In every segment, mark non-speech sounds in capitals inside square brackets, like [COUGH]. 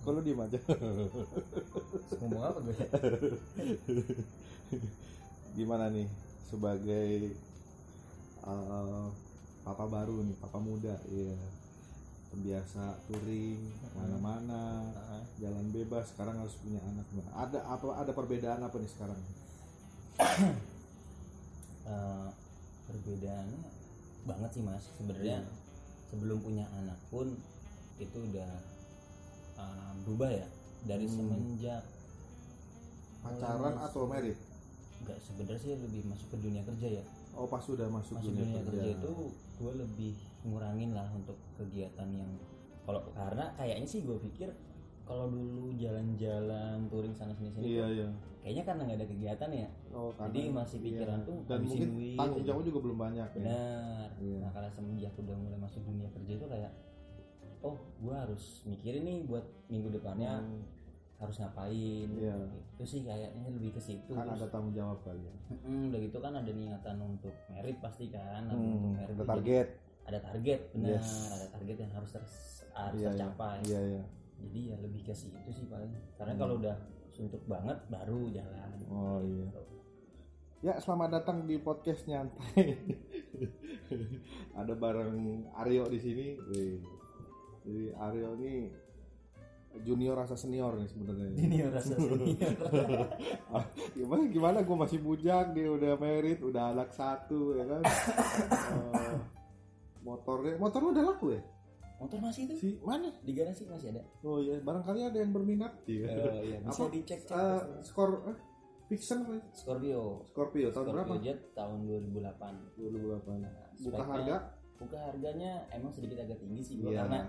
Kok lu diem aja? [LAUGHS] ngomong apa gue Gimana nih sebagai eh, papa baru nih, papa muda, iya. Pembiasa touring mana-mana, Hmm. jalan bebas. Sekarang harus punya anak. Gimana? Ada apa? Ada perbedaan apa nih sekarang? Eh, perbedaannya banget sih mas sebenarnya sebelum punya anak pun itu udah eh, berubah ya dari semenjak Pacaran atau merit? nggak sebenarnya sih lebih masuk ke dunia kerja ya Oh pas sudah masuk masuk dunia, kerja itu gue lebih ngurangin lah untuk kegiatan yang kalau karena kayaknya sih gue pikir kalau dulu jalan-jalan touring sana sini sini Iya iya. kayaknya karena nggak ada kegiatan ya Oh, karena- jadi masih pikiran tuh dan habisin mungkin duit tanggung aja. jawab juga belum banyak ya. benar Iya. nah karena semenjak udah mulai masuk dunia kerja itu kayak oh gue harus mikirin nih buat minggu depannya Hmm, harus ngapain Iya. itu sih kayaknya lebih ke situ kan Terus- ada tanggung jawab kali ya. Mm, udah gitu kan ada niatan untuk merit pasti kan ada Hmm, untuk merit ada tuh target. jadi ada target benar Yes. ada target yang harus ter harus Iya, tercapai Iya Hmm. iya. jadi ya lebih ke situ sih paling karena kalau udah suntuk banget baru jalan [LAUGHS] Oh iya. Gitu. Ya selamat datang di podcast nyantai. [LAUGHS] Ada bareng Aryo di sini. Wih. Jadi Aryo ini junior rasa senior nih sebenarnya. ini [LAUGHS] rasa senior Ah, gimana gimana gue masih bujang dia udah merit udah anak satu ya [LAUGHS] kan. Eh, motornya motor lu udah laku ya motor masih itu si mana di garasi masih ada oh iya barangkali ada yang berminat iya. Eh, iya, bisa Apa? dicek cek Eh, skor eh, Vixen apa ya? Scorpio Scorpio Iya, tahun Scorpio berapa? Jet tahun 2008 2008. Nah, Buka speknya- harga? buka harganya emang sedikit agak tinggi sih gua Iya. karena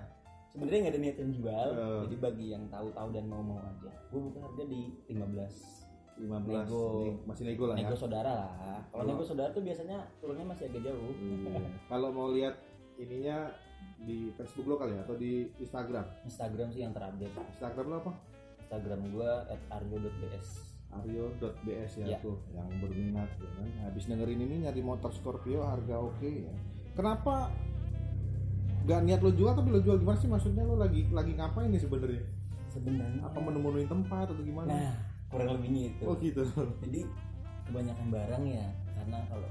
sebenarnya nggak ada niatan jual Eh. jadi bagi yang tahu-tahu dan mau-mau aja gue buka harga di 15 15 Nego. Nih, masih nego lah ya. nego saudara lah kalau Kalau- nego saudara tuh biasanya turunnya masih agak jauh Iya. Kalau mau lihat ininya di Facebook lo kali ya atau di Instagram. [LAUGHS] Instagram sih yang terupdate Instagram lo apa? Instagram gue at aryo.bs Aryo.bs ya Iya. tuh yang berminat ya kan. Habis dengerin ini nyari motor Scorpio harga oke ya. Kenapa gak niat lo jual tapi lo jual gimana sih maksudnya lo lagi lagi ngapain nih sebenarnya? sebenarnya Apa menemuin tempat atau gimana? nah kurang lebihnya itu oh gitu. jadi kebanyakan barang ya karena kalau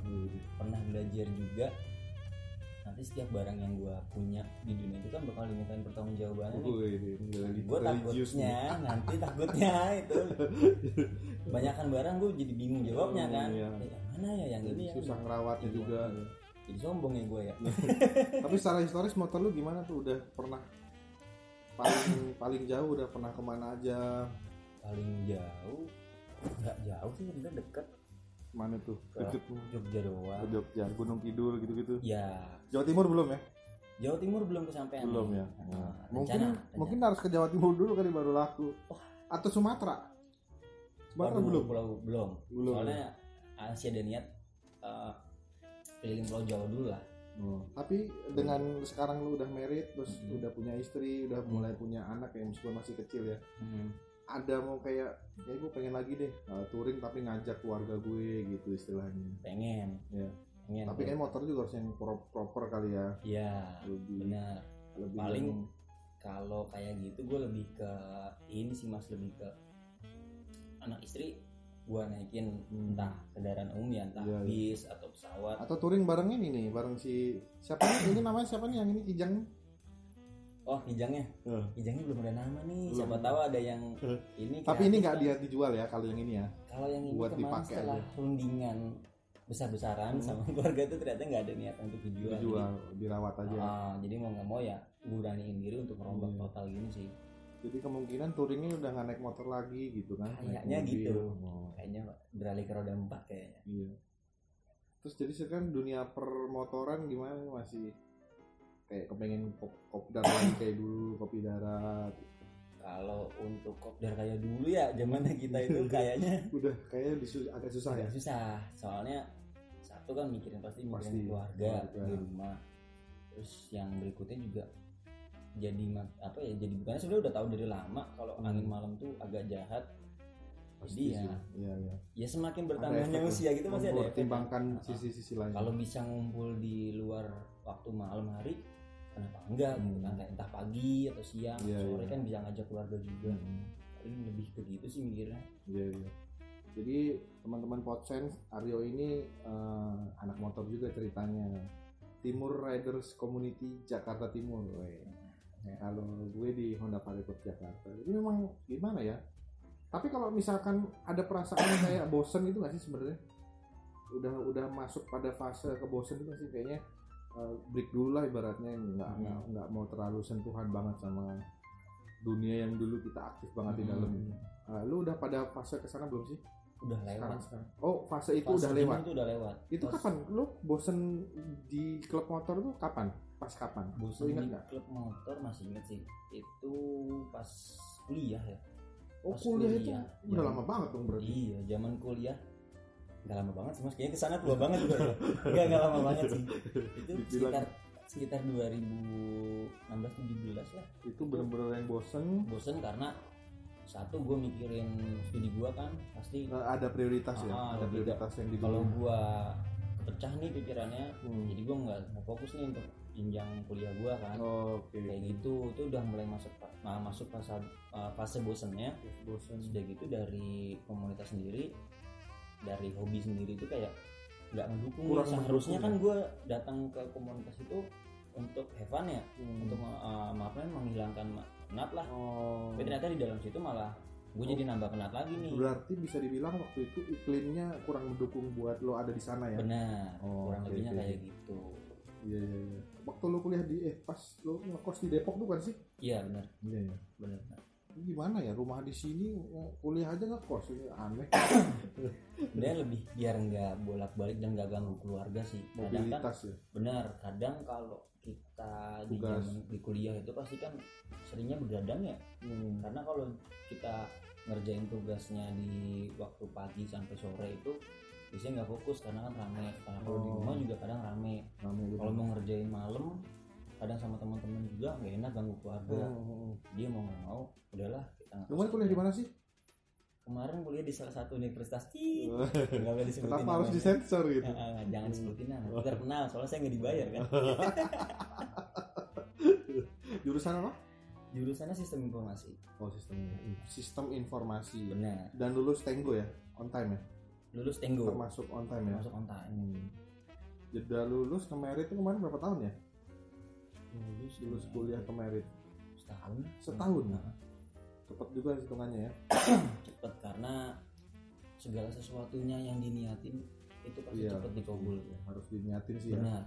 pernah belajar juga nanti setiap barang yang gue punya di dunia itu kan bakal dimintain pertanggungjawabannya nih Gue ini ini gue religius takutnya nih. nanti takutnya itu banyakkan barang gue jadi bingung jawabnya Hmm, kan iya. Eh, yang mana ya yang ini ya susah ngerawatnya Iya. juga. jadi sombong ya gue ya Tapi secara historis motor lu gimana tuh? Udah pernah paling paling jauh udah pernah kemana aja? paling jauh nggak jauh sih sebenarnya deket Mana tuh? Ke- Deket tuh. Jogja Ke doang Jogja, Gunung Kidul gitu-gitu. ya Jawa Timur belum ya? Jawa Timur belum kesampaian Belum ya. Nah, Nah, rencana, mungkin rencana. mungkin harus ke Jawa Timur dulu kali baru laku. Atau Sumatera? Sumatera Waduh, belum? pulau belum Belum. ya? soalnya Asia ada niat eh, keliling pulau Jawa dulu lah Oh. Tapi dengan sekarang lu udah merit, terus Hmm. udah punya istri, udah mulai punya anak ya meskipun masih kecil ya. Ada mau kayak, ya gue pengen lagi deh uh, touring tapi ngajak keluarga gue gitu istilahnya. pengen Iya. pengen Tapi kan motor juga harus yang pro- proper kali ya. ya Lebih, benar lebih Paling yang- kalau kayak gitu gue lebih ke ini sih mas lebih ke anak istri gue naikin Hmm. entah kendaraan umum ya entah Iya, iya. bis atau pesawat atau touring bareng ini nih, bareng si siapa nih? Ini namanya siapa nih yang ini Kijang? Iya, oh kijangnya Eh. kijangnya belum ada nama Belum. nih siapa tahu ada yang Eh. ini Tapi ini nggak kreatif dia dijual ya kalau yang ini ya. kan. kalau yang ini buat kemarin dipakai setelah rundingan besar-besaran Hmm. sama [LAUGHS] keluarga tuh ternyata nggak ada niat untuk dijual, Dijual, dirawat Iya, Jadi, aja. ah, jadi mau nggak mau ya beraniin diri untuk merombak Iya. total gini sih Jadi kemungkinan touringnya udah nggak naik motor lagi gitu kan? naik Kayaknya mobil. gitu. Oh, kayaknya beralih ke roda empat kayaknya iya. Terus jadi sekarang dunia permotoran gimana nih? masih kayak kepengen kop kopdar [COUGHS] lagi kayak dulu kopi darat kalau untuk kopdar kayak dulu ya zamannya kita [LAUGHS] itu kayaknya udah kayaknya disu- agak susah ya agak susah soalnya satu kan mikirin pasti mikirin Pasti, keluarga keluarga. di rumah terus yang berikutnya juga jadi ma- apa ya jadi bukannya sebenarnya udah tahu dari lama kalau Hmm. angin malam tuh agak jahat jadi Pasti ya sih. iya iya ya semakin bertambahnya efek lah. usia gitu masih ada efek mempertimbangkan kan? sisi-sisi lain kalau bisa ngumpul di luar waktu malam hari kenapa enggak gitu kan Hmm. Kayak entah pagi atau siang Iya, sore iya. kan bisa ngajak keluarga juga Hmm. paling lebih ke gitu sih mikirnya Iya, iya. Jadi teman-teman Podsense, Aryo ini eh, anak motor juga ceritanya. Timur Riders Community Jakarta Timur. weh. Nah, Kalau gue di Honda Parikop Jakarta. Jadi memang gimana ya? Tapi kalau misalkan ada perasaan [COUGHS] kayak bosen itu nggak sih sebenarnya? Udah udah masuk pada fase kebosen itu sih kayaknya eh, break dulu lah ibaratnya nggak Hmm. nggak- nggak mau terlalu sentuhan banget sama dunia yang dulu kita aktif banget di Hmm. dalam Ah, lu udah pada fase kesana belum sih? udah Sekarang, lewat sekarang. Oh, fase itu Fase udah dini lewat. itu udah lewat Itu Pas kapan? Lu bosen di klub motor tuh kapan? Pas kapan? bosen Lu ingat di nggak? klub motor masih inget sih itu pas kuliah ya Oh, pas kuliah itu kuliah. udah Ya. lama banget dong berarti. Iya, zaman kuliah nggak lama banget sih mas, kayaknya kesana tua banget juga ya. Nggak, nggak lama banget sih. Itu Dibilang. sekitar sekitar 2016 17 lah. Itu bener-bener yang bosen. Bosen karena satu gue mikirin studi gua kan pasti eh, ada prioritas ya, Ah, ada lebih prioritas yang di kalau gua kepecah nih pikirannya, Hmm. jadi gua nggak nggak fokus nih untuk jenjang kuliah gua kan. Oh, Oke. Kayak gitu, itu udah mulai masuk nah, masuk fase eh, fase bosennya. Bosen. Terus udah gitu dari komunitas sendiri dari hobi sendiri itu kayak nggak mendukung Kurang mendukung ya?" seharusnya kan gue datang ke komunitas itu untuk have fun ya Hmm. untuk uh, maafnya menghilangkan ma- penat lah Oh. tapi ternyata di dalam situ malah gue jadi nambah penat lagi nih Berarti bisa dibilang waktu itu iklimnya kurang mendukung buat lo ada di sana ya. benar Oh, kurang oke, lebihnya oke. kayak gitu Iya, iya, iya. Waktu lo kuliah di eh pas lo ngekos di Depok tuh kan sih? iya benar Iya, iya. benar gimana ya rumah di sini eh, kuliah aja nggak kos ini aneh Iya, dia lebih biar nggak bolak balik dan nggak ganggu keluarga sih kadang kan mobilitas ya Benar, kadang kalau kita di, Tugas. zaman- di kuliah itu pasti kan seringnya begadang ya. Hmm. Karena kalau kita ngerjain tugasnya di waktu pagi sampai sore itu biasanya nggak fokus karena kan rame. Karena kalau di Oh. rumah juga kadang rame. Rame gitu. kan? Kalau mau ngerjain malam kadang sama teman-teman juga nggak enak ganggu keluarga. Hmm, hmm, hmm. Dia mau nggak mau, udahlah kita ngekos Lu kuliah di aja. mana sih? Kemarin kuliah di salah satu universitas. Ih, nggak boleh Oh. disebutin Kenapa harus Hmm. namanya. disensor Ah, gitu? ah, jangan sebutin nama, terkenal soalnya saya nggak dibayar kan. Jurusan apa? Jurusannya sistem informasi. Oh sistem sistem informasi. Benar. Dan lulus Tenggo ya, on time ya, Lulus Tenggo. termasuk on time ya. Masuk on time. Jeda lulus ke merit itu kemarin berapa tahun ya? Lulus Lulus kuliah ke merit setahun. Setahun? ya? Nah, cepet juga hitungannya ya. cepet karena segala sesuatunya yang diniatin itu pasti Iya. cepet dikabul. Harus diniatin sih ya. Benar.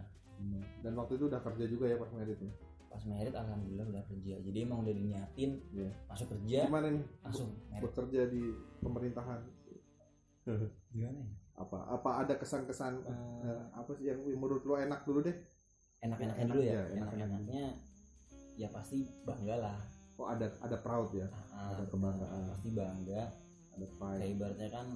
Dan waktu itu udah kerja juga ya pas meritnya. Pas merit alhamdulillah udah kerja. Jadi emang udah diniatin Iya. masuk kerja Gimana nih Ya. langsung merit. bekerja di pemerintahan? Gimana ya? Apa apa ada kesan-kesan Eh, Eh, apa sih yang menurut lo enak dulu deh? enak-enaknya enak dulu ya. aja, Iya, enak-enak. Enak-enaknya ya pasti bangga lah. Oh ada ada proud ya, Ah, Ada kebanggaan. Pasti bangga. ada pride. Kayak ibaratnya kan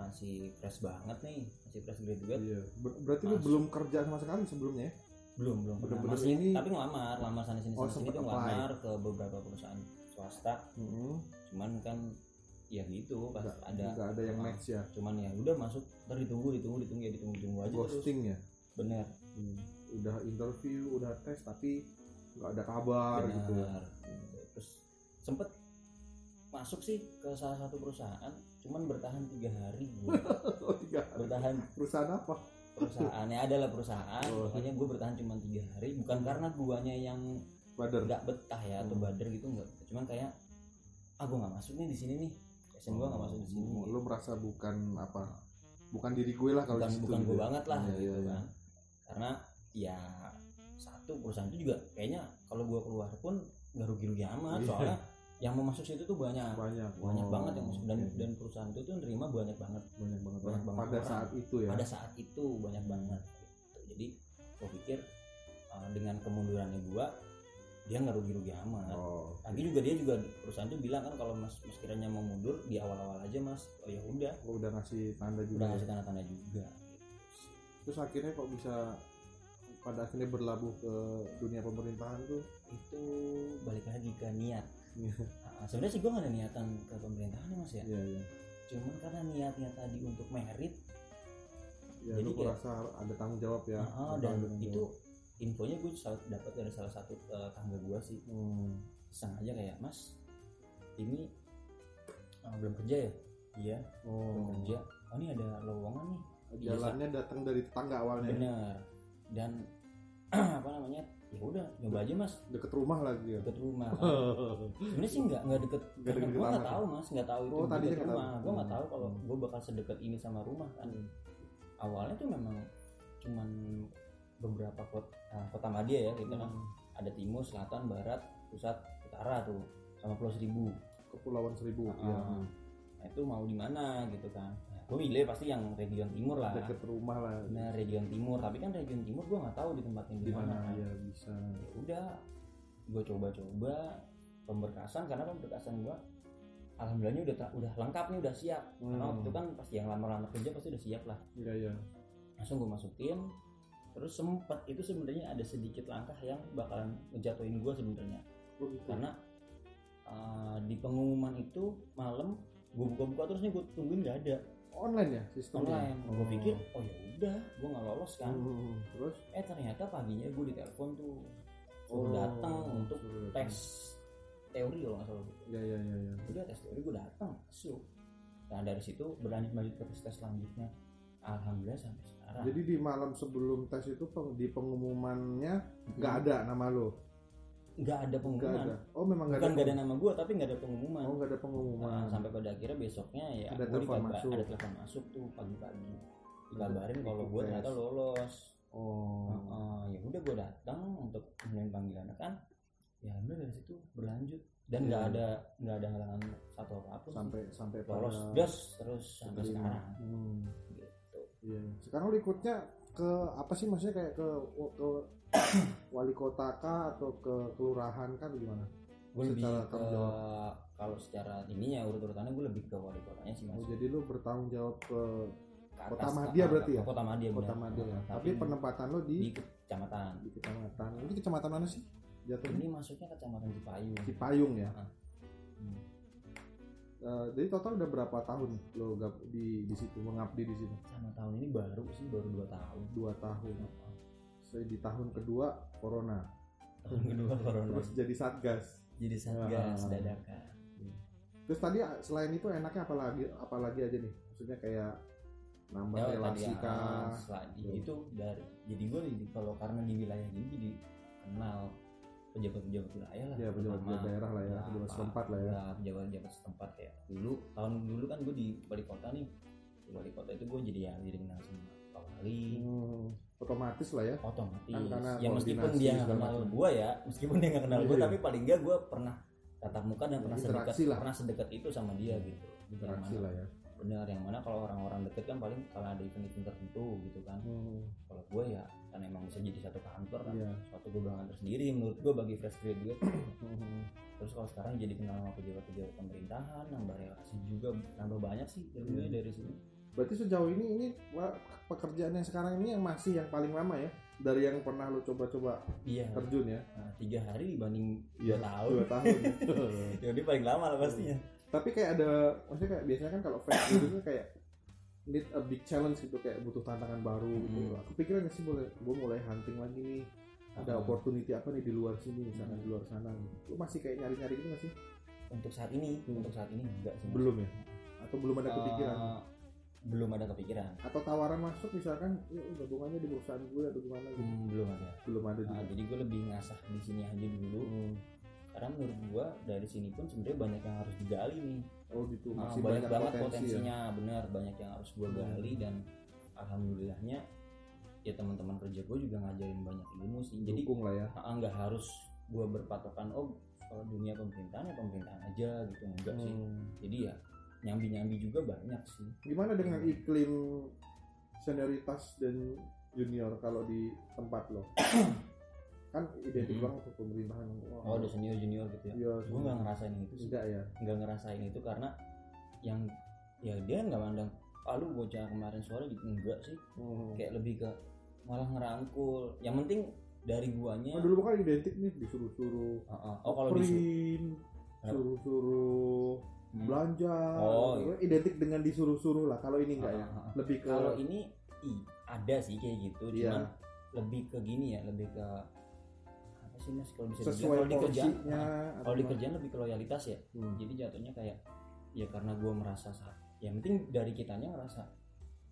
masih fresh banget nih, masih fresh graduate. Iya. Ber- berarti lu Masuk. belum kerja sama sekali sebelumnya ya? belum belum pernah Bener-bener masih Nah, ini- tapi ngelamar lamar sana sini Oh, sana sini sempet tuh apply. ngelamar ke beberapa perusahaan swasta Heeh. cuman kan ya gitu Hmm. pas Nggak- ada nggak ada yang Ah. match ya. cuman ya udah masuk ntar ditunggu ditunggu ditunggu ya ditunggu tunggu aja terus Ghosting ya. bener Hmm. Udah interview, udah tes tapi nggak ada kabar bener gitu. [LAUGHS] ya. terus sempet masuk sih ke salah satu perusahaan cuman bertahan tiga hari [LAUGHS] gua. Oh, iya. bertahan Perusahaan apa? perusahaannya adalah perusahaan Oh. pokoknya gue bertahan cuma tiga hari bukan karena guanya yang Brother. nggak betah ya atau Hmm. bader gitu nggak cuman kayak ah gue nggak masuk nih di sini nih passion gue nggak masuk di sini Hmm, Lu merasa bukan apa? Bukan diri gue lah kalau bukan di situ bukan gitu gue ya. banget lah Iya, gitu iya, iya. kan karena ya satu perusahaan itu juga kayaknya kalau gue keluar pun nggak rugi rugi amat Iya. soalnya yang mau masuk situ tuh banyak Banyak. banyak Oh, banget yang masuk dan iya, iya. dan perusahaan itu tuh nerima banyak banget banyak banget. banyak banget Pada orang. saat itu ya. pada saat itu banyak banget gitu. jadi gue pikir eh, dengan kemundurannya gue dia nggak rugi rugi amat Oh. lagi juga dia juga perusahaan tuh bilang kan kalau mas, mas kiranya mau mundur di awal-awal aja mas oh ya udah Lu udah ngasih tanda juga. udah ya. ngasih tanda-tanda juga terus akhirnya kok bisa pada akhirnya berlabuh ke dunia pemerintahan tuh itu balik lagi ke [LAUGHS] niat Iya. Ah, sebenarnya sih gue gak ada niatan ke pemerintahan ya mas ya ya ya, cuman karena niatnya tadi untuk merit ya Jadi lu kayak- merasa ada tanggung jawab ya ah, ah, Ada dan tanggung itu jawab. infonya gue dapat dari salah satu eh, tangga gue sih Hmm. iseng aja kayak mas ini eh, belum kerja ya iya belum Oh. kerja oh ini ada lowongan nih Jalannya datang dari tetangga awalnya. Iya, bener dan [CLEARS THROAT] apa namanya ya udah nyoba aja mas Deket rumah [LAUGHS] lagi ya. deket [LAUGHS] rumah sebenarnya sih nggak nggak deket Nggak karena deket gue nggak amat tahu mas nggak tahu itu Oh, tadinya deket nggak tahu. rumah gue nggak Hmm. tahu kalau gue bakal sedekat ini sama rumah kan awalnya tuh memang cuman beberapa kota, kota Madia ya gitu kan Hmm. ada timur selatan barat pusat utara tuh sama Pulau Seribu Kepulauan Seribu. Iya. Ah, nah, itu mau di mana gitu kan nah, gue milih pasti yang region timur lah Deket rumah lah. nah region timur tapi kan region timur gue nggak tahu di tempatnya Di mana kan. ya bisa. ya udah gue coba-coba pemberkasan karena pemberkasan gue alhamdulillahnya udah ta- udah lengkap nih udah siap karena waktu itu kan pasti yang lama-lama kerja pasti udah siap lah Hmm. Iya ya. langsung gue masukin terus sempet itu sebenarnya ada sedikit langkah yang bakalan ngejatuhin gue sebenarnya Oh gitu. karena uh, di pengumuman itu malam gue buka-buka terus nih gue tungguin nggak ada Online ya sistemnya. online gue pikir oh ya udah gue nggak lolos kan Hmm, Terus eh ternyata paginya gue ditelepon tuh Oh, suruh datang untuk suruh datang. tes teori kalau nggak salah Iya iya iya iya. udah tes teori gue datang siu nah dari situ berlanjut lanjut ke tes tes selanjutnya alhamdulillah sampai sekarang Jadi di malam sebelum tes itu peng- di pengumumannya nggak ada nama lo. nggak ada Nggak Hmm. pengumuman ada. Oh memang nggak bukan ada. nggak ada pengumuman. nama gue tapi nggak ada pengumuman Oh nggak ada pengumuman. Nah, sampai pada akhirnya besoknya ya Ada gua telepon dikabar- masuk. ada telepon masuk tuh pagi-pagi dikabarin Ikut kalau gue tes. ternyata lolos Oh. Heeh, ya udah gue datang untuk kemudian panggilan kan ya udah dari situ berlanjut dan nggak Iya. ada nggak ada halangan satu apapun sih. sampai sampai lolos pada- das terus sampai Terima. sekarang Hmm. gitu Iya. Sekarang lu ikutnya ke apa sih maksudnya kayak ke, ke [COUGHS] wali kota kah atau ke kelurahan kan gimana? gue lebih Secara ke tanggung jawab. kalau secara ininya urut-urutannya gue lebih ke wali kotanya sih mas Oh, jadi lu bertanggung jawab ke Ke Kota atas, Madia ke- berarti ya? kota Madia kota benar. Madia. ya. Nah, Tapi penempatan lu di di, kecamatan di kecamatan. Lu di kecamatan mana sih? Jatuhnya ini masuknya kecamatan Cipayung Cipayung ya. Ah. Hmm. Eh, jadi total udah berapa tahun lo gab- di di situ mengabdi di situ? sama tahun ini baru sih baru dua tahun Dua tahun. So, di tahun kedua corona. tahun kedua corona Terus jadi satgas. jadi satgas Ah. dadakan Terus tadi ah, selain itu enaknya apalagi apalagi aja nih? Maksudnya kayak nambah Ya, relasi tadi, kah? Iya. ah, setelah di- itu dari jadi gue di- kalau karena di wilayah ini jadi kenal pejabat-pejabat wilayah lah Ya pejabat terutama. daerah lah ya, Ya, pejabat Pak. setempat lah ya. Ya, pejabat-pejabat setempat ya dulu tahun dulu kan gue di wali kota nih di wali kota itu gue jadi ya jadi kenal sama pak wali Hmm, otomatis lah ya. otomatis Kan karena ya meskipun koordinasi dia nggak segala kenal macam. gue ya meskipun dia nggak kenal gue Iya. tapi paling nggak gue pernah tatap muka dan Ya, pernah interaksi sedekat lah. pernah sedekat itu sama dia gitu Yang Interaksi mana- lah ya. bener yang mana kalau orang-orang deket kan paling kalau ada event-event tertentu gitu kan Hmm, kalau gue ya kan emang bisa jadi satu kantor kan iya. suatu gubangan tersendiri menurut gue bagi fresh graduate Hmm, terus kalau sekarang jadi kenal sama pejabat-pejabat pemerintahan nambah relasi juga nambah banyak sih ilmunya Hmm. dari sini Berarti sejauh ini ini wah, pekerjaan yang sekarang ini yang masih yang paling lama ya dari yang pernah lo coba-coba iya terjun ya. nah, tiga hari dibanding Iya, Iya. dua Dua tahun [LAUGHS] tahun. ya dia paling lama lah pastinya Tapi kayak ada maksudnya kayak biasanya kan kalau fresh gitu tuh kayak need a big challenge gitu kayak butuh tantangan baru gitu. Hmm. Kepikiran nggak sih boleh gue mulai hunting lagi nih ada Nah, opportunity apa nih di luar sini misalkan Hmm. di luar sana gitu. lu masih kayak nyari nyari gitu masih untuk saat ini untuk saat ini enggak sih Mas. belum ya Ah. atau Hmm. belum ada Eh, kepikiran belum ada kepikiran atau tawaran masuk misalkan ya gabungannya di perusahaan gue atau gimana gitu Hmm, belum ada belum ada Nah, juga jadi gue lebih ngasah di sini aja dulu Hmm. karena menurut gua dari sini pun sebenarnya banyak yang harus digali nih oh gitu Ah, masih banyak, banyak, banget potensi ya potensinya bener banyak yang harus gua Hmm. gali dan alhamdulillahnya ya teman-teman kerja gua juga ngajarin banyak ilmu sih jadi dukung lah ya ah, nggak harus gua berpatokan oh kalau dunia pemerintahan ya pemerintahan aja gitu enggak sih Hmm. jadi ya nyambi-nyambi juga banyak sih gimana dengan Hmm. iklim senioritas dan junior kalau di tempat lo [COUGHS] kan identik Hmm. banget tuh pemerintahan Wah, oh ada senior junior gitu ya iya, gua nggak ngerasain itu sih enggak ya nggak ngerasain itu karena yang ya dia nggak mandang ah lu bocah kemarin sore gitu enggak sih Hmm. kayak lebih ke malah ngerangkul yang penting dari guanya Oh, dulu kan identik nih disuruh-suruh Heeh. oh kalau disuruh disuruh Kenapa? suruh-suruh Hmm. belanja Oh, Itu identik dengan Iya. disuruh-suruh lah kalau ini enggak ya Heeh, heeh. lebih ke kalau ini i ada sih kayak gitu Iya. cuman lebih ke gini ya lebih ke apa sih mas kalau bisa sesuai dibilang kalau di kerjaan porsinya ah, atau kalau di apa? kerjaan lebih ke loyalitas ya Hmm. jadi jatuhnya kayak ya karena gue merasa saat yang penting dari kitanya ngerasa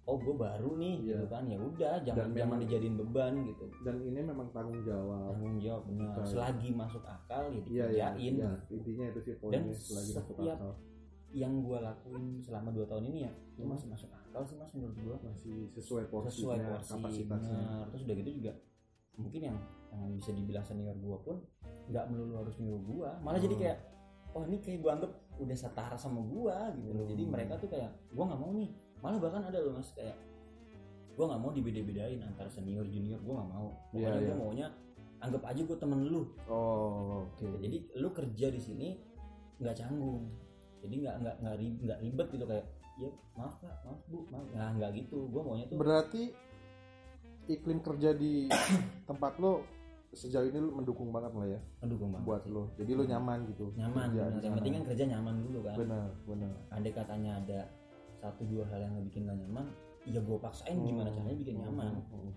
oh gue baru nih Iya. gitu kan ya udah Dan jangan jangan memang- dijadiin beban gitu dan ini memang tanggung jawab tanggung jawab benar Betul. selagi masuk akal ya iya iya dikerjain iya. gitu. intinya itu sih poinnya Dan lagi masuk setiap- akal yang gue lakuin selama dua tahun ini ya itu Hmm. masih masuk akal sih mas menurut gue masih sesuai porsinya sesuai porsi ya, kapasitasnya benar. terus udah gitu juga mungkin yang, yang bisa dibilang senior gua pun nggak melulu harus nyuruh gua malah jadi Hmm. kayak oh ini kayak gua anggap udah setara sama gua gitu loh jadi Hmm. mereka tuh kayak gua nggak mau nih malah bahkan ada loh mas kayak gua nggak mau dibeda-bedain antara senior junior gua nggak mau pokoknya Iya, iya. gua maunya anggap aja gua temen lu oh oke gitu. jadi lu kerja di sini nggak canggung jadi nggak nggak nggak ri- nggak ribet gitu kayak ya maaf pak maaf bu maaf nah nggak gitu gua maunya tuh Berarti iklim kerja di [COUGHS] tempat lo sejauh ini lo mendukung banget lah ya mendukung banget buat sih. lo. Jadi lo nyaman gitu. nyaman kerja di benar. yang sana. penting kan kerja nyaman dulu kan Benar, benar. andai katanya ada satu dua hal yang bikin gak nyaman ya gue paksain gimana Hmm, caranya bikin hmm, nyaman hmm, hmm.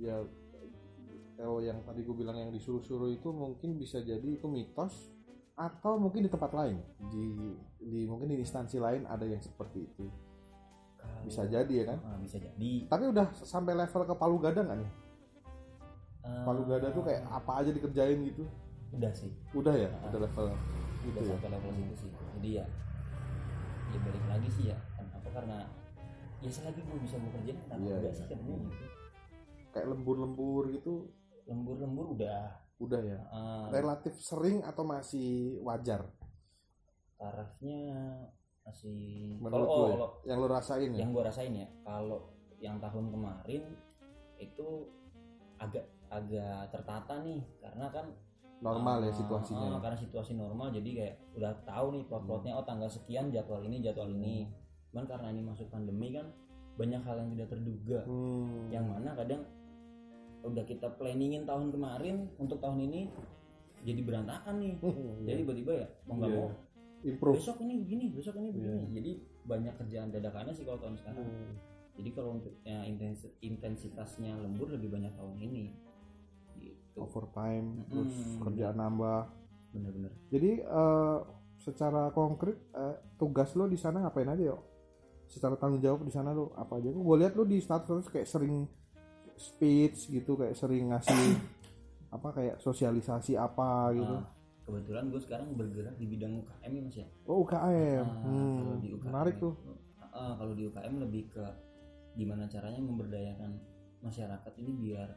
Ya kalau yang tadi gue bilang yang disuruh-suruh itu mungkin bisa jadi itu mitos atau mungkin di tempat lain di di mungkin di instansi lain ada yang seperti itu Kalau- bisa jadi ya kan Ah, bisa jadi tapi udah sampai level ke Palu Gada nggak nih Eh, Palu Gada tuh kayak apa aja dikerjain gitu udah sih udah ya Ah. udah level gitu udah ya sampai level situ sih jadi ya ya balik lagi sih ya kenapa karena ya selagi gue bisa bekerja kenapa Iya, enggak iya. sih katanya gitu kayak lembur-lembur gitu lembur-lembur udah udah ya Eh, relatif sering atau masih wajar tarafnya masih Menurut kalau- oh, lu ya? kalau yang lo rasain ya yang gue rasain ya kalau yang tahun kemarin itu agak agak tertata nih karena kan normal ya ah, situasinya ah, ya. Hmm. karena situasi normal jadi kayak udah tahu nih plot-plotnya oh tanggal sekian jadwal ini jadwal ini cuman karena ini masuk pandemi kan banyak hal yang tidak terduga Hmm. yang mana kadang udah kita planningin tahun kemarin untuk tahun ini jadi berantakan nih jadi tiba-tiba ya mau nggak Iya. mau Hmm. improve besok ini begini besok ini begini jadi banyak kerjaan dadakannya sih kalau tahun sekarang Hmm. jadi kalau untuk ya, intensi- intensitasnya lembur lebih banyak tahun ini. Gitu. overtime Mm-mm. terus Hmm. kerjaan nambah Bener-bener. jadi eh, secara konkret eh, tugas lo di sana ngapain aja yo secara tanggung jawab di sana lo apa aja gue lihat lo di status kayak sering speech gitu kayak sering [COUGHS] ngasih apa kayak sosialisasi apa gitu Ah, kebetulan gue sekarang bergerak di bidang UKM ya mas ya. oh UKM Ah, Hmm, kalau di UKM menarik tuh itu- Ah, kalau di UKM lebih ke gimana caranya memberdayakan masyarakat ini biar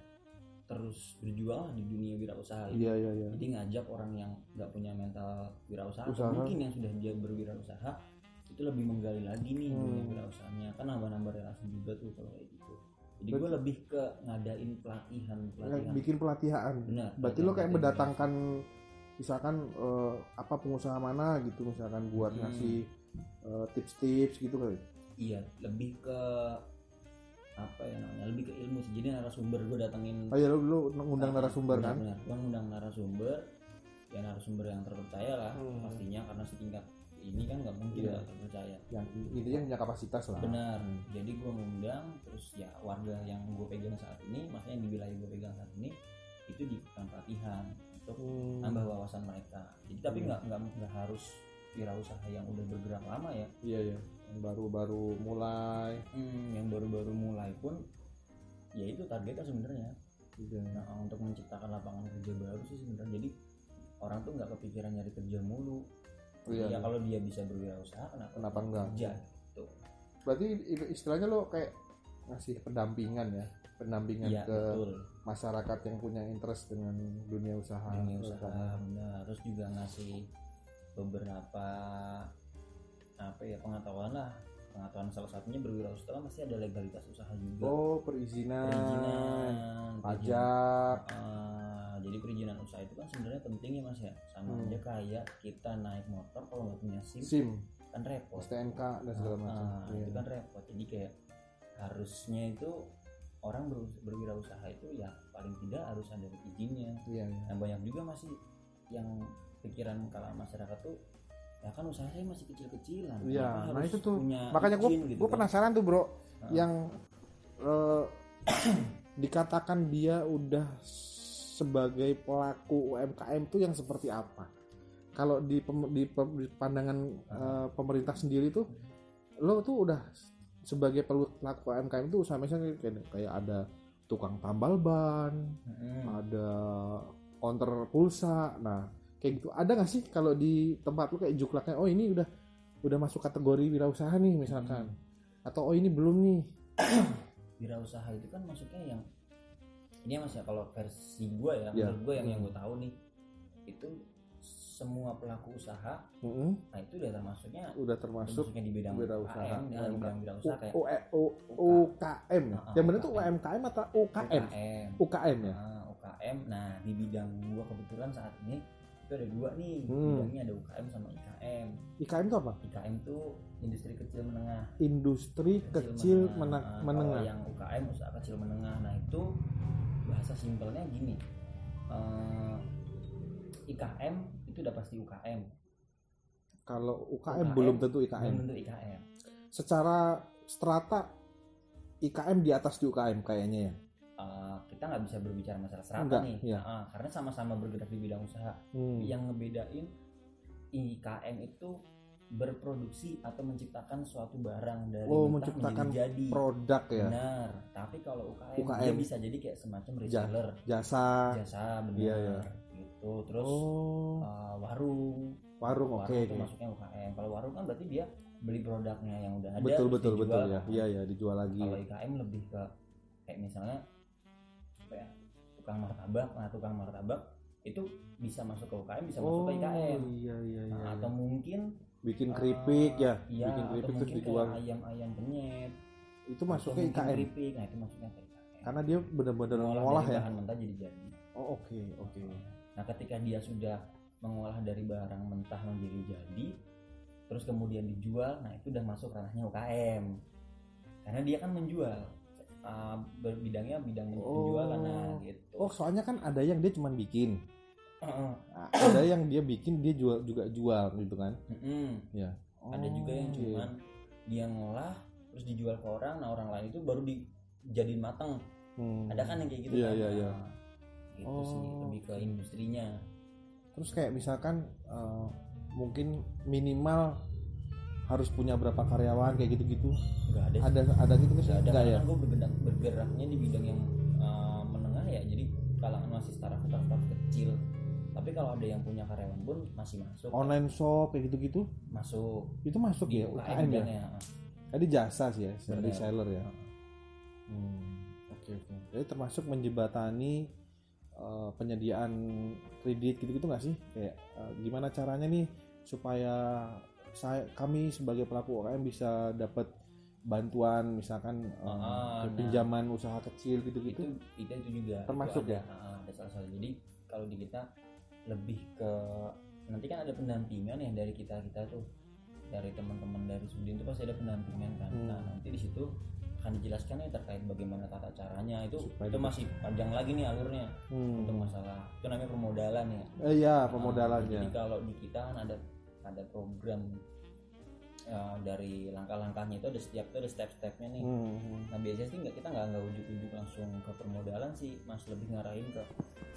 terus berjuang lah di dunia wirausaha. ini. iya iya iya Jadi ngajak orang yang nggak punya mental wirausaha, atau Usaha. mungkin yang sudah dia berwirausaha itu lebih menggali lagi nih Hmm. dunia wirausahanya. Kan nambah-nambah relasi juga tuh kalau kayak gitu. Jadi gue lebih ke ngadain pelatihan pelatihan. Yang bikin pelatihan Benar. berarti lo kayak pelatihan- mendatangkan misalkan eh, apa pengusaha mana gitu misalkan buat Hmm. ngasih eh, tips-tips gitu kali Iya, lebih ke apa ya namanya? Lebih ke ilmu. sih. Jadi narasumber gue datengin oh iya lo, lo ngundang Ah, narasumber kan benar-benar. Gua ngundang narasumber ya narasumber yang terpercaya lah Hmm. pastinya karena setingkat ini kan nggak mungkin Iya. nggak terpercaya yang intinya punya kapasitas lah benar jadi gue ngundang terus ya warga yang gue pegang saat ini maksudnya yang di wilayah gue pegang saat ini itu diberikan pelatihan untuk Hmm. nambah wawasan mereka jadi tapi nggak nggak nggak harus wirausaha yang udah bergerak lama ya iya iya yang baru-baru mulai Hmm, yang baru-baru mulai pun ya itu targetnya sebenarnya gitu. Nah, untuk menciptakan lapangan kerja baru sih sebenarnya jadi orang tuh nggak kepikiran nyari kerja mulu Iya, ya iya. kalau dia bisa berwirausaha kenapa Kenapa enggak? kerja berarti i- istilahnya lo kayak ngasih pendampingan ya pendampingan iya ke betul masyarakat yang punya interest dengan dunia usaha Iya. dunia usaha benar Nah, terus juga ngasih beberapa apa ya pengetahuan lah pengetahuan salah satunya berwirausaha kan pasti ada legalitas usaha juga oh perizinan, perizinan perizinan. pajak Ah, jadi perizinan usaha itu kan sebenarnya penting ya mas ya sama Hmm. aja kayak kita naik motor kalau nggak punya sim sim kan repot STNK dan segala macam Ah, Iya. itu kan repot jadi kayak harusnya itu orang berus- berwirausaha itu ya paling tidak harus ada izinnya Iya, iya. yang banyak juga masih yang pikiran kalangan masyarakat tuh ya kan usaha saya masih kecil-kecilan Iya, kenapa nah harus itu tuh. punya makanya gue izin gitu gue kan? penasaran tuh bro Ah. yang eh, [CLEARS THROAT] dikatakan dia udah sebagai pelaku UMKM tuh yang seperti apa? Kalau di, pem- di pem- di pandangan eh, pemerintah sendiri tuh lo tuh udah sebagai pelu- pelaku UMKM tuh usaha misalnya kayak, kayak ada tukang tambal kan? ban, ada counter pulsa. Nah, kayak gitu. Ada nggak sih kalau di tempat lu kayak juklaknya oh ini udah udah masuk kategori wirausaha nih misalkan. Hmm. Atau oh ini belum nih. wirausaha itu kan masuknya yang ini ya mas ya kalau versi gue ya Ya. menurut gue yang yang Hmm. gue tahu nih itu semua pelaku usaha Mm-mm, nah itu udah termasuknya Hmm, udah termasuk termasuknya di bidang wirausaha, UKM dan UMKM. bidang wirausaha kayak U- E, U- U- UKM. Ah, ah, Yang benar tuh UKM. UMKM atau UKM? UKM UKM ya. Nah, UKM nah di bidang gue kebetulan saat ini itu ada dua nih Hmm. bidangnya ada UKM sama IKM IKM itu apa? IKM itu industri kecil menengah Industri kecil menang mena- menengah. Oh, iya. menengah. Kalau yang UKM usaha kecil menengah. Nah, itu bahasa simpelnya gini. Eh, IKM itu udah pasti UKM. Kalau UKM, UKM, belum tentu Belum IKM. tentu IKM. Secara strata IKM di atas di UKM kayaknya ya. Eh, kita nggak bisa berbicara masalah serata Enggak, nih. iya. Nah, karena sama-sama bergerak di bidang usaha. Hmm. Yang ngebedain IKM itu berproduksi atau menciptakan suatu barang dari Oh, mentah menciptakan menjadi jadi. Produk ya, Benar. Tapi kalau UKM, dia UKM. bisa jadi kayak semacam Ja- reseller, jasa. jasa benar. Iya, iya. Gitu. Terus Oh, eh, warung warung oke. warung itu masuknya UKM kalau warung kan berarti dia beli produknya yang udah ada Betul terus betul dijual. betul ya. Iya ya dijual lagi. kalau IKM lebih ke kayak misalnya apa ya tukang martabak nah tukang martabak itu bisa masuk ke UKM bisa masuk Oh, ke IKM iya iya Nah, iya. atau mungkin Bikin eh, keripik ya. iya, Bikin atau keripik terus mungkin dijual. kayak ayam-ayam penyet Itu atau masuknya mungkin IKM keripik, nah itu masuknya ke IKM karena dia benar-benar olah ngolah dari ya. bahan mentah jadi jadi Oh, oke oke. Nah, ketika dia sudah mengolah dari barang mentah menjadi jadi, terus kemudian dijual, nah itu udah masuk ranahnya UKM. Karena dia kan menjual. Uh, berbidangnya bidang men- Oh. penjualan nah, gitu. Oh, soalnya kan ada yang dia cuman bikin. Heeh. Nah, ada yang dia bikin dia jual juga jual gitu kan. [CLEARS THROAT] Mm-mm. Ada juga yang Oh, cuman dia ngolah terus dijual ke orang, nah orang lain itu baru dijadiin matang. Hmm. Ada kan yang kayak gitu Iya, kan? iya, iya. Nah, Gitu sih Oh. lebih ke industrinya. Terus kayak misalkan eh, mungkin minimal harus punya berapa karyawan kayak gitu-gitu. Enggak ada Ada ada gitu kan? Gak ada Enggak ya. gue bergerak, bergeraknya di bidang yang uh, menengah ya jadi kalangan masih startup startup startup kecil tapi kalau ada yang punya karyawan pun masih masuk Online shop kayak gitu-gitu masuk itu masuk di ya UKM ya. bidangnya. ah. Tadi jasa sih ya, Nah, Benar. reseller ya. Hmm, Oke oke. Jadi termasuk menjembatani eh, penyediaan kredit gitu-gitu nggak sih? Kayak eh, gimana caranya nih supaya saya kami sebagai pelaku UKM bisa dapat bantuan misalkan eh, Ah, nah. pinjaman usaha kecil itu gitu-gitu. itu itu juga itu Termasuk ada, ya? uh, ada salah satu jadi kalau di kita lebih ke nanti kan ada pendampingan ya dari kita kita tuh dari teman-teman dari Sudin itu pasti ada pendampingan kan Hmm. nah nanti di situ akan dijelaskan ya terkait bagaimana tata caranya itu Supaya itu dapat- masih panjang lagi nih alurnya Hmm. untuk masalah itu namanya permodalan ya Eh ya jadi pemodalannya. kalau di kita kan ada ada program eh, dari langkah-langkahnya itu ada setiap itu ada step-stepnya nih Hmm. nah biasanya sih nggak kita nggak nggak ujuk-ujuk langsung ke permodalan sih mas lebih ngarahin ke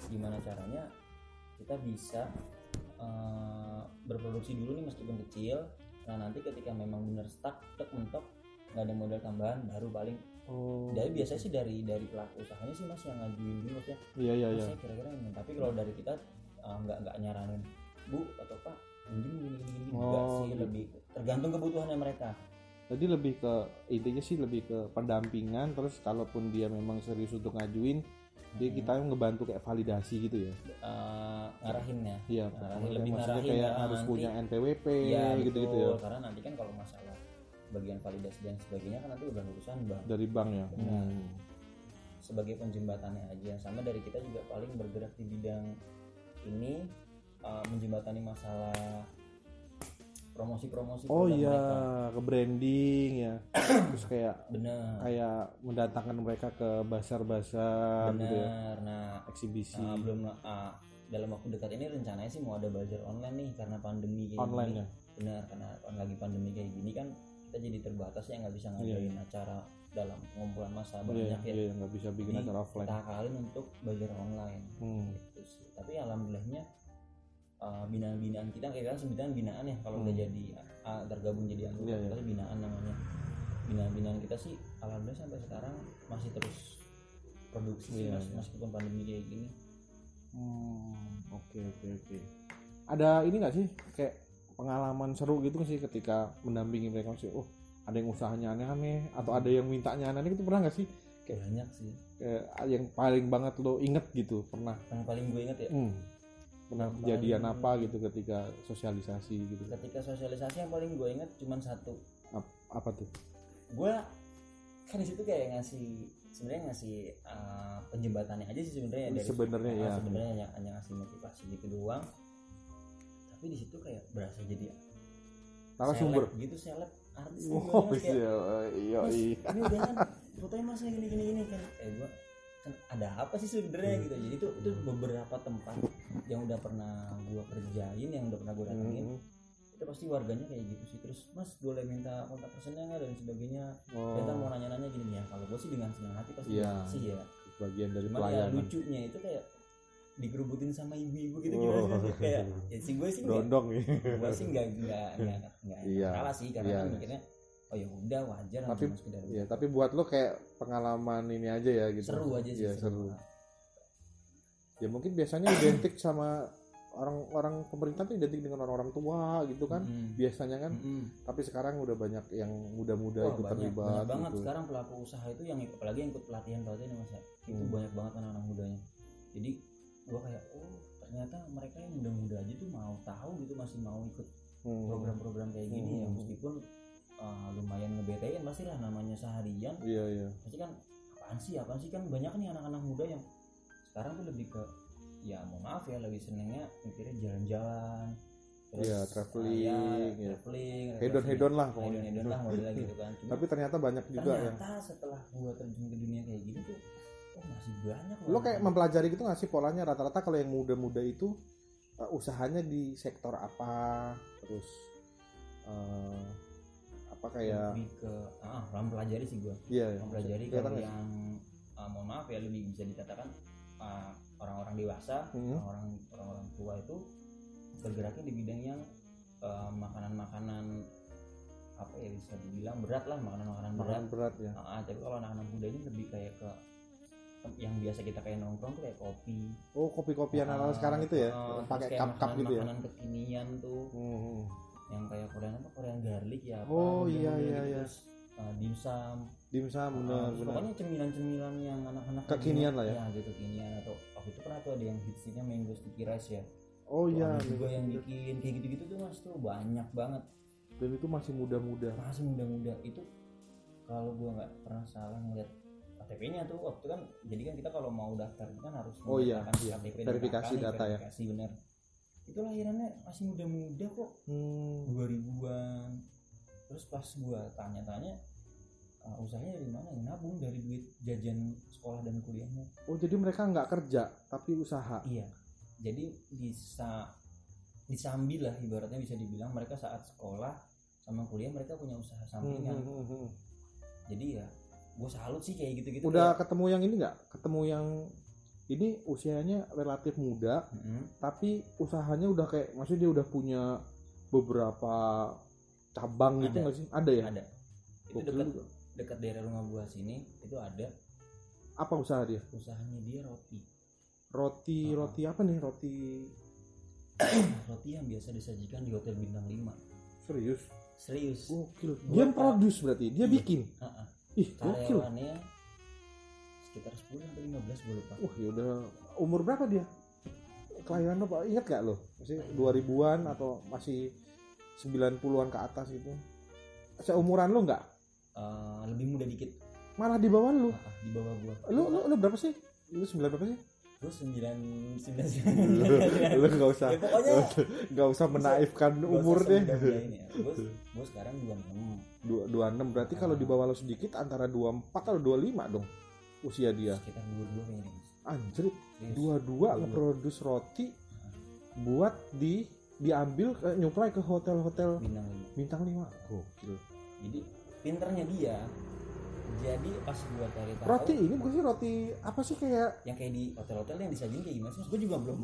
gimana caranya kita bisa eh, berproduksi dulu nih meskipun kecil nah nanti ketika memang bener stuck tek mentok nggak ada modal tambahan baru paling Oh. dari biasanya sih dari dari pelaku usahanya sih mas yang ngajuin dulu maksudnya Iya iya iya. Terus saya kira-kira ini tapi kalau dari kita uh, nggak nggak nyaranin bu atau pak mungkin gini gini gini Nggak Oh, sih gitu. lebih tergantung kebutuhannya mereka Jadi lebih ke intinya sih lebih ke pendampingan terus kalaupun dia memang serius untuk ngajuin dia Hmm. kita ngebantu kayak validasi gitu ya. uh, ngarahinnya Iya, Ngarahin, pokoknya lebih maksudnya ngarahin kayak ya, harus nanti. punya NPWP Iya gitu-gitu ya karena nanti kan kalau masalah bagian validasi dan sebagainya kan nanti udah urusan bang dari bank ya. Benar. Hmm. sebagai penjembatannya aja sama dari kita juga paling bergerak di bidang ini uh, menjembatani masalah promosi-promosi Oh produk iya, mereka. ke branding ya. [COUGHS] terus kayak bener kayak mendatangkan mereka ke bazar-bazar gitu ya, bener nah eksibisi Ah, belum ah, dalam waktu dekat ini rencananya sih mau ada bazar online nih karena pandemi kayak online ya. gini. Benar, karena lagi pandemi kayak gini kan kita jadi terbatas ya nggak bisa Iya, ngadain acara dalam pengumpulan massa banyak ya iya, nggak bisa bikin Jadi, acara offline. kita akalin untuk belajar online Hmm. gitu sih. tapi alhamdulillahnya uh, binaan-binaan kita kita sebutan binaan ya kalau udah Hmm. jadi uh, tergabung jadi anggota Iya, iya. kita tuh binaan namanya binaan-binaan kita sih alhamdulillah sampai sekarang masih terus produksi sih, Iya, mas- iya. meskipun pandemi kayak gini Hmm. Oke oke oke. ada ini nggak sih kayak pengalaman seru gitu sih ketika mendampingi mereka sih oh ada yang usahanya aneh-aneh atau ada yang mintanya aneh-aneh itu pernah nggak sih kayak banyak sih Kayak "Ah, yang paling banget lo inget gitu pernah yang paling gue inget ya hmm, pernah Yang kejadian paling- apa gitu ketika sosialisasi gitu ketika sosialisasi yang paling gue inget cuman satu apa tuh gue kan di situ kayak ngasih sebenarnya ngasih uh, penjembatannya aja sih sebenarnya dari sebenarnya Nah, ya sebenarnya hanya, hanya ngasih motivasi gitu doang tapi di situ kayak berasa jadi narasumber seleb gitu seleb artis gitu oh Mas, kayak, iya iya Mas, iya ini udah kan fotonya mas kayak gini gini gini kan eh gua kan ada apa sih sebenarnya Hmm. gitu jadi itu itu beberapa tempat yang udah pernah gua kerjain yang udah pernah gua datengin Hmm. itu pasti warganya kayak gitu sih terus mas boleh minta kontak personnya nggak dan sebagainya Oh, kita mau nanya-nanya gini ya kalau gua sih dengan senang hati pasti Iya. sih ya Bagian dari Cuman ya pelayanan. lucunya itu kayak dikerubutin sama ibu-ibu gitu gimana Oh. sih, Mas? kayak ya si gue sih nggak Berondong ya gue sih nggak nggak nggak nggak Iya. salah sih karena Iya. kan mikirnya oh ya udah wajar lah Tapi- cuma sekedar ya tapi buat lo kayak pengalaman ini aja ya gitu seru aja sih Iya, seru. banget. ya mungkin biasanya identik sama orang-orang pemerintah tuh identik dengan orang-orang tua gitu kan Mm. biasanya kan Mm-mm. tapi sekarang udah banyak yang muda-muda Hmm. Wah, Iya, ikut banyak, terlibat banyak banget gitu. sekarang pelaku usaha itu yang apalagi yang ikut pelatihan pelatihan ya mas ya itu Hmm. banyak banget anak-anak mudanya jadi gue kayak oh ternyata mereka yang muda-muda aja tuh mau tahu gitu masih mau ikut Hmm. program-program kayak gini ya Hmm. meskipun uh, lumayan ngebetain pastilah namanya seharian iya iya pasti kan apaan sih apaan sih kan banyak nih anak-anak muda yang sekarang tuh lebih ke ya mau maaf ya lebih senengnya mikirnya jalan-jalan Iya, ah, traveling, ya, ya. traveling hedon hedon lah hedon pokoknya hedon lah modelnya gitu kan Cuma tapi ternyata banyak juga ya. yang ternyata setelah gua terjun ke dunia kayak gini tuh oh masih banyak loh lo kayak anak-anak. mempelajari gitu nggak sih polanya rata-rata kalau yang muda-muda itu uh, usahanya di sektor apa terus uh, apa kayak lebih ke ah mempelajari sih gua ya. iya ya Hmm. mempelajari Kelihatan kalau nggak sih? yang ah, mohon maaf ya lebih bisa dikatakan ah, orang-orang dewasa Hmm. orang orang orang tua itu bergeraknya di bidang yang eh, makanan-makanan apa ya bisa dibilang berat lah makanan-makanan berat. Makanan berat ya Ah, tapi kalau anak-anak muda ini lebih kayak ke yang biasa kita kayak nongkrong tuh kayak kopi. oh kopi-kopian ala sekarang itu ya Ah, terus pakai kayak cup-cup gitu ya Makanan kekinian tuh Hmm. yang kayak Korean apa Korean garlic ya apa. Oh, udang-udang iya, gitu, iya, iya. Terus eh, dimsum. dimsum Ah, benar terus benar pokoknya cemilan-cemilan yang anak-anak Kekinian lah ya. Iya, gitu kekinian atau waktu itu pernah tuh ada yang hitsnya mango sticky rice ya. oh iya Ada juga benar. yang gitu. bikin kayak gitu-gitu tuh mas tuh banyak banget dan itu masih muda-muda masih muda-muda itu kalau gua nggak pernah salah ngeliat KTP-nya tuh waktu kan jadi kan kita kalau mau daftar itu kan harus Oh iya, mendaftarkan iya. KTP Verifikasi data, data ya. verifikasi bener itu lahirannya masih muda-muda kok Hmm. 2000-an terus pas gua tanya-tanya "Ah, usahanya dari mana ya nabung dari duit jajan sekolah dan kuliahnya Oh jadi mereka nggak kerja tapi usaha. Iya. Jadi bisa disambi lah ibaratnya bisa dibilang mereka saat sekolah sama kuliah mereka punya usaha sampingan. Hmm. Jadi ya gue salut sih kayak gitu-gitu. Udah ketemu yang ini nggak? Ketemu yang ini usianya relatif muda Kayak, "Mm-mm, tapi usahanya udah kayak maksudnya dia udah punya beberapa cabang gitu Ada. nggak sih? Ada ya? ada. Itu Gokil dekat juga. dekat daerah rumah gua sini itu ada Apa usaha dia? usahanya dia roti. Roti Ah. roti apa nih? Roti Nah, roti yang biasa disajikan di hotel bintang 5. serius? Serius. Gokil. Dia Gua tak- produce berarti. Dia Iya. bikin. Ha-ha. Ih, gokil. Karyawannya sekitar 10 sampai 15 gue lupa. Wah, ya udah umur berapa dia? Kelahiran apa? Ingat gak lo? Masih 2000-an atau masih 90-an ke atas gitu. Seumuran lo nggak? Eh, lebih muda dikit Malah di bawah lo. ha-ha, di bawah gua. Lo lo, lo berapa sih? Lo 9 berapa sih? Gue sembilan sembilan [LAUGHS] Lo, sembilan. lo gak usah Ya, pokoknya gak usah menaifkan umur deh. Gue sekarang dua enam. Dua- 26 berarti kalau di bawah lo sedikit antara 24 atau 25 dong usia dia. Sekitar dua dua kayaknya. Mas. Anjir, Serius. dua-dua Dua-dua. ngeproduce roti buat di diambil eh, nyuplai ke hotel-hotel bintang lima. bintang 5 gokil jadi pinternya dia jadi pas gua cari tahu Roti ini bukan sih roti apa sih kayak yang kayak di hotel-hotel yang disajiin kayak gimana sih gue juga belum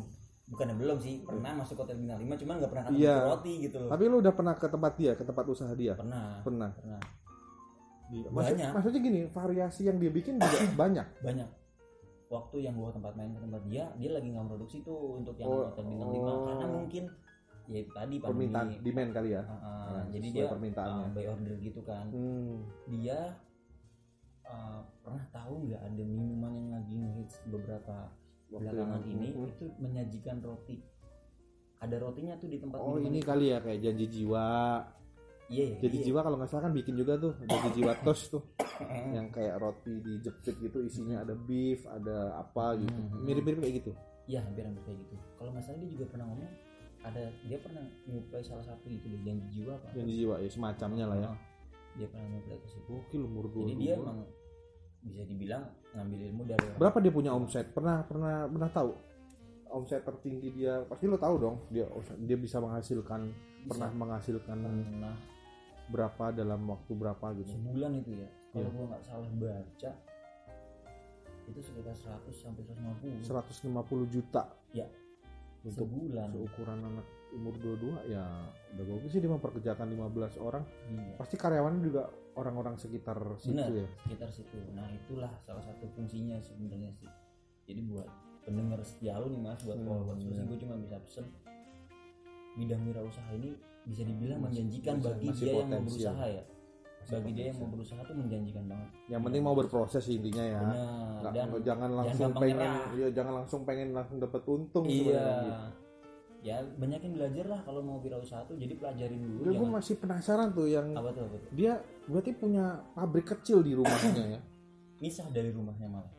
bukan belum sih pernah masuk hotel bintang 5 cuman nggak pernah ketemu Iya. roti gitu loh tapi lu udah pernah ke tempat dia, ke tempat usaha dia? pernah Pernah. pernah Maksud- banyak maksudnya gini, variasi yang dia bikin [COUGHS] juga banyak. banyak waktu yang gua ke tempat main ke tempat dia dia lagi nggak produksi tuh untuk yang Oh, hotel bintang 5 karena oh. mungkin ya itu tadi pandemi Permintaan demand kali ya. Ah, ah, Nah, jadi sesuai dia permintaannya. ah, by order gitu kan Hmm. dia uh, pernah tahu nggak ada minuman yang lagi ngehits beberapa belakangan yang- ini Hmm. itu menyajikan roti ada rotinya tuh di tempat Oh minuman ini kali ya kayak janji jiwa. iya iya, Jadi iya. [LAUGHS] jiwa kalau nggak salah kan bikin juga tuh janji jiwa [COUGHS] tos tuh Heeh. yang kayak roti dijepit gitu isinya ada beef ada apa gitu Hmm. mirip-mirip kayak gitu. Iya hampir hampir kayak gitu. Kalau nggak salah dia juga pernah ngomong ada dia pernah nyuplai salah satu itu deh janji jiwa apa? Janji jiwa ya semacamnya lah ya. Ah, Dia pernah nyuplai ke situ. Gokil umur dua. Jadi dia emang bisa dibilang ngambil ilmu dari orang. berapa dia punya omset? Pernah pernah pernah tahu omset tertinggi dia pasti lo tahu dong dia dia bisa menghasilkan Bisa. Hmm. pernah menghasilkan pernah berapa dalam waktu berapa gitu. sebulan itu ya. Kalau Iya. gua nggak salah baca itu sekitar 100 sampai 150 150 juta. Ya. Untuk sebulan. seukuran anak umur 22 ya udah bagus sih dia memperkerjakan 15 orang Iya. pasti karyawannya juga orang-orang sekitar situ Benar. ya sekitar situ. Nah itulah salah satu fungsinya sebenarnya sih. Jadi buat pendengar setia lu nih mas, buat Hmm, followers lu sih iya. gue cuma bisa pesen bidang wirausaha ini bisa dibilang Masih- menjanjikan masih- bagi masih dia yang mau potensial. berusaha ya. Bagi dia yang mau Masih- berusaha tuh menjanjikan banget. yang penting mau berproses sih intinya ya Iya. Benar. Nggak- Dan jangan langsung gampang pengen nyerah. iya, jangan langsung pengen langsung dapat untung iya. sebenarnya gitu. Ya banyakin belajar lah kalau mau wirausaha tuh. Jadi pelajarin dulu. Udah, gue jangan- masih penasaran tuh yang Iya. apa tuh apa tuh? dia berarti punya pabrik kecil di rumahnya ya Misah dari rumahnya malah.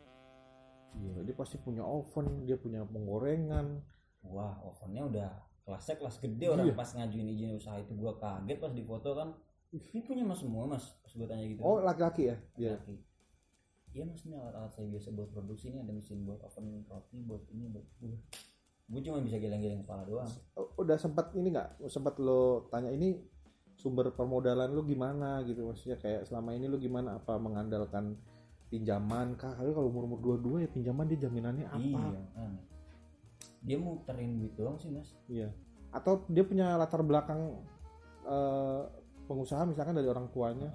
Iya, dia pasti punya oven, dia punya penggorengan. Wah, ovennya udah kelasnya kelas gede Iya. orang pas ngajuin izin usaha itu gua kaget pas di foto kan. Ini punya mas semua mas, pas gua tanya gitu. Oh, laki-laki ya? Iya. Laki. Iya mas ini alat-alat saya biasa buat produksi ini ada mesin buat oven roti buat ini buat gue. Gue cuma bisa geleng-geleng kepala doang. Oh, Udah sempat ini nggak? Sempat lo tanya ini sumber permodalan lu gimana gitu maksudnya kayak selama ini lu gimana apa mengandalkan pinjaman kah Karena kalau umur umur dua dua ya pinjaman dia jaminannya apa Iya. aneh. Dia muterin duit doang sih mas. atau dia punya latar belakang eh, pengusaha misalkan dari orang tuanya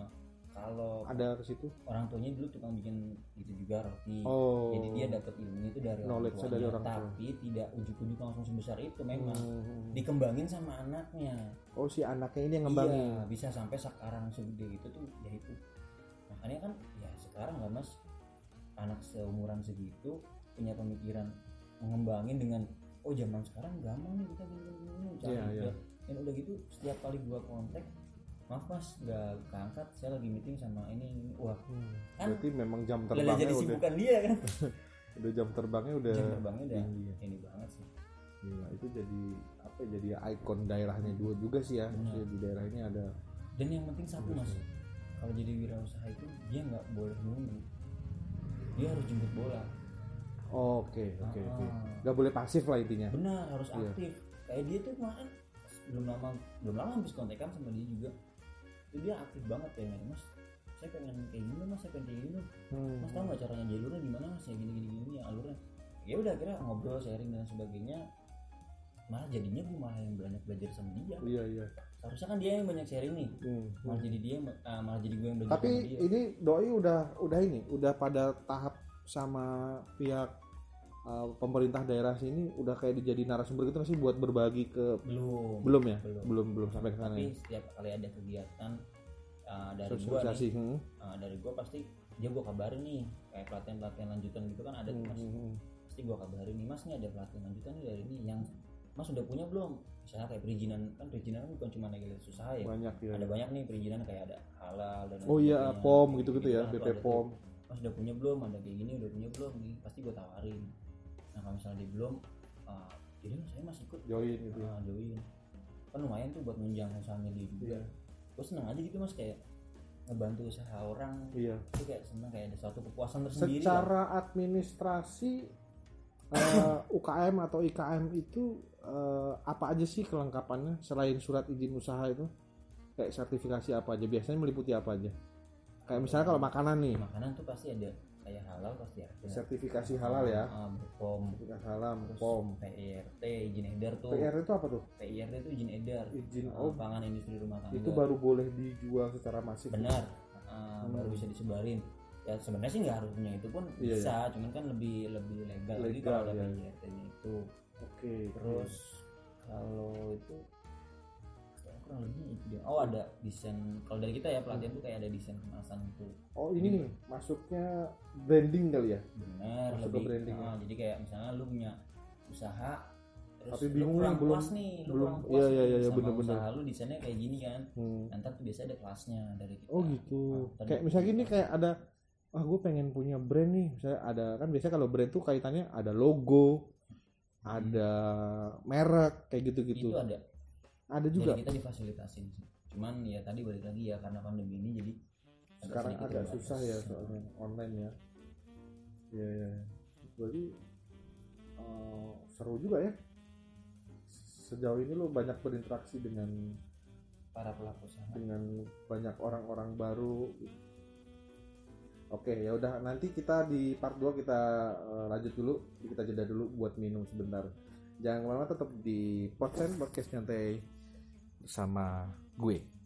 Kalau ada ke situ orang tuanya dulu tukang bikin itu juga roti. oh Jadi dia dapat ilmunya itu dari orang Knowledge-nya tuanya, dari orang tua. tapi tidak ujuk-ujuk langsung sebesar itu memang. Hmm. dikembangin sama anaknya oh si anaknya ini yang ngembangin iya bisa sampai sekarang segede itu tuh ya itu makanya kan ya sekarang lah mas anak seumuran segitu punya pemikiran mengembangin dengan oh zaman sekarang gampang nih kita gini gini gini, cari Iya, iya. udah." dan udah gitu setiap kali gua kontak maaf mas gak keangkat saya lagi meeting sama ini, ini. wah Hmm. Kan berarti memang jam udah terbangnya jadi udah Iya. sibukan dia kan udah jam terbangnya udah jam terbangnya udah tinggi ya. ini banget sih Gila, itu jadi apa ya, jadi ikon daerahnya dua juga sih ya Benar. maksudnya di daerah ini ada dan yang penting satu mas kalau jadi wirausaha itu dia nggak boleh nunggu dia harus jemput bola oke oke Ah, oke nggak boleh pasif lah intinya benar harus Iya. aktif kayak dia tuh kemarin belum lama belum lama habis kontekan sama dia juga itu dia aktif banget pengen mas saya pengen kayak gini mas saya pengen kayak gini Hmm. mas tahu nggak caranya jalurnya gimana mas ya gini gini gini ya alurnya ya udah akhirnya ngobrol sharing dan sebagainya malah jadinya gue malah yang banyak belajar sama dia iya iya harusnya kan dia yang banyak sharing nih Hmm. malah jadi dia yang- ah, malah jadi gue yang belajar tapi sama dia ini doi udah udah ini udah pada tahap sama pihak uh, pemerintah daerah sini udah kayak dijadi narasumber gitu nggak sih buat berbagi ke belum belum ya belum. belum belum sampai ke sana ya? tapi setiap kali ada kegiatan uh, dari gua nih sosialisasi hmm. uh, dari gua pasti dia gua kabarin nih kayak pelatihan pelatihan lanjutan gitu kan ada tuh mas Hmm. pasti gua kabarin nih mas nih ada pelatihan lanjutan nih dari ini yang mas udah punya belum misalnya kayak perizinan kan perizinan kan bukan cuma negara usaha ya banyak ya ada banyak nih perizinan kayak ada halal dan lain oh iya sebagainya. pom gitu gitu ya Gitu-gitu kan tuh ada bp tuh pom mas udah punya belum ada kayak gini udah punya belum nih pasti gue tawarin nah kalau misalnya dia belum uh, jadi mas saya masih ikut join gitu ya. nah, join kan lumayan tuh buat menunjang usahanya dia juga Iya. gue seneng aja gitu mas kayak ngebantu usaha orang iya itu kayak seneng kayak ada suatu kepuasan tersendiri lah. secara administrasi eh, [COUGHS] UKM atau IKM itu eh, apa aja sih kelengkapannya selain surat izin usaha itu kayak sertifikasi apa aja biasanya meliputi apa aja kayak misalnya kalau makanan nih makanan tuh pasti ada kayak halal pasti ada sertifikasi halal ya Ah, BPOM sertifikasi halal terus E pom PIRT izin edar tuh E PR itu apa tuh PIRT itu izin edar izin Ah, oh pangan industri rumah tangga itu baru boleh dijual secara masif benar Ah, Hmm. baru bisa disebarin ya sebenarnya sih nggak harus punya itu pun Iya, bisa cuman kan lebih lebih legal, lagi Legal, kalau ada iya. PIRT -nya itu oke terus kalau itu saya kurang lebih itu dia. oh ada desain kalau dari kita ya pelatihan tuh kayak ada desain kemasan gitu oh ini nih masuknya branding kali ya benar Masuk ke lebih branding ya. ah, jadi kayak misalnya lu punya usaha terus Tapi lu bingung kurang lah, belum- puas nih lu belum- kurang puas iya, iya, nih iya, sama bener-bener. usaha lu desainnya kayak gini kan Hmm. nanti tuh biasanya ada kelasnya dari kita Oh gitu. Nah, kayak tadi- misalnya ini kayak ada ah gue pengen punya brand nih. Misalnya ada kan biasanya kalau brand tuh kaitannya ada logo, ada merek kayak itu gitu-gitu. ada gitu. Ada juga. jadi kita difasilitasin sih cuman ya tadi balik lagi ya karena pandemi ini jadi agak Sekarang sedikit agak terbatas. susah ya soalnya online ya. Iya iya. Berarti eh, seru juga ya. Sejauh ini lo banyak berinteraksi dengan para pelaku usaha dengan banyak orang-orang baru. Oke, ya udah nanti kita di part 2 kita eh, lanjut dulu, kita jeda dulu buat minum sebentar. Jangan kemana-mana tetap di Podsen Podcast Nyantai bersama gue.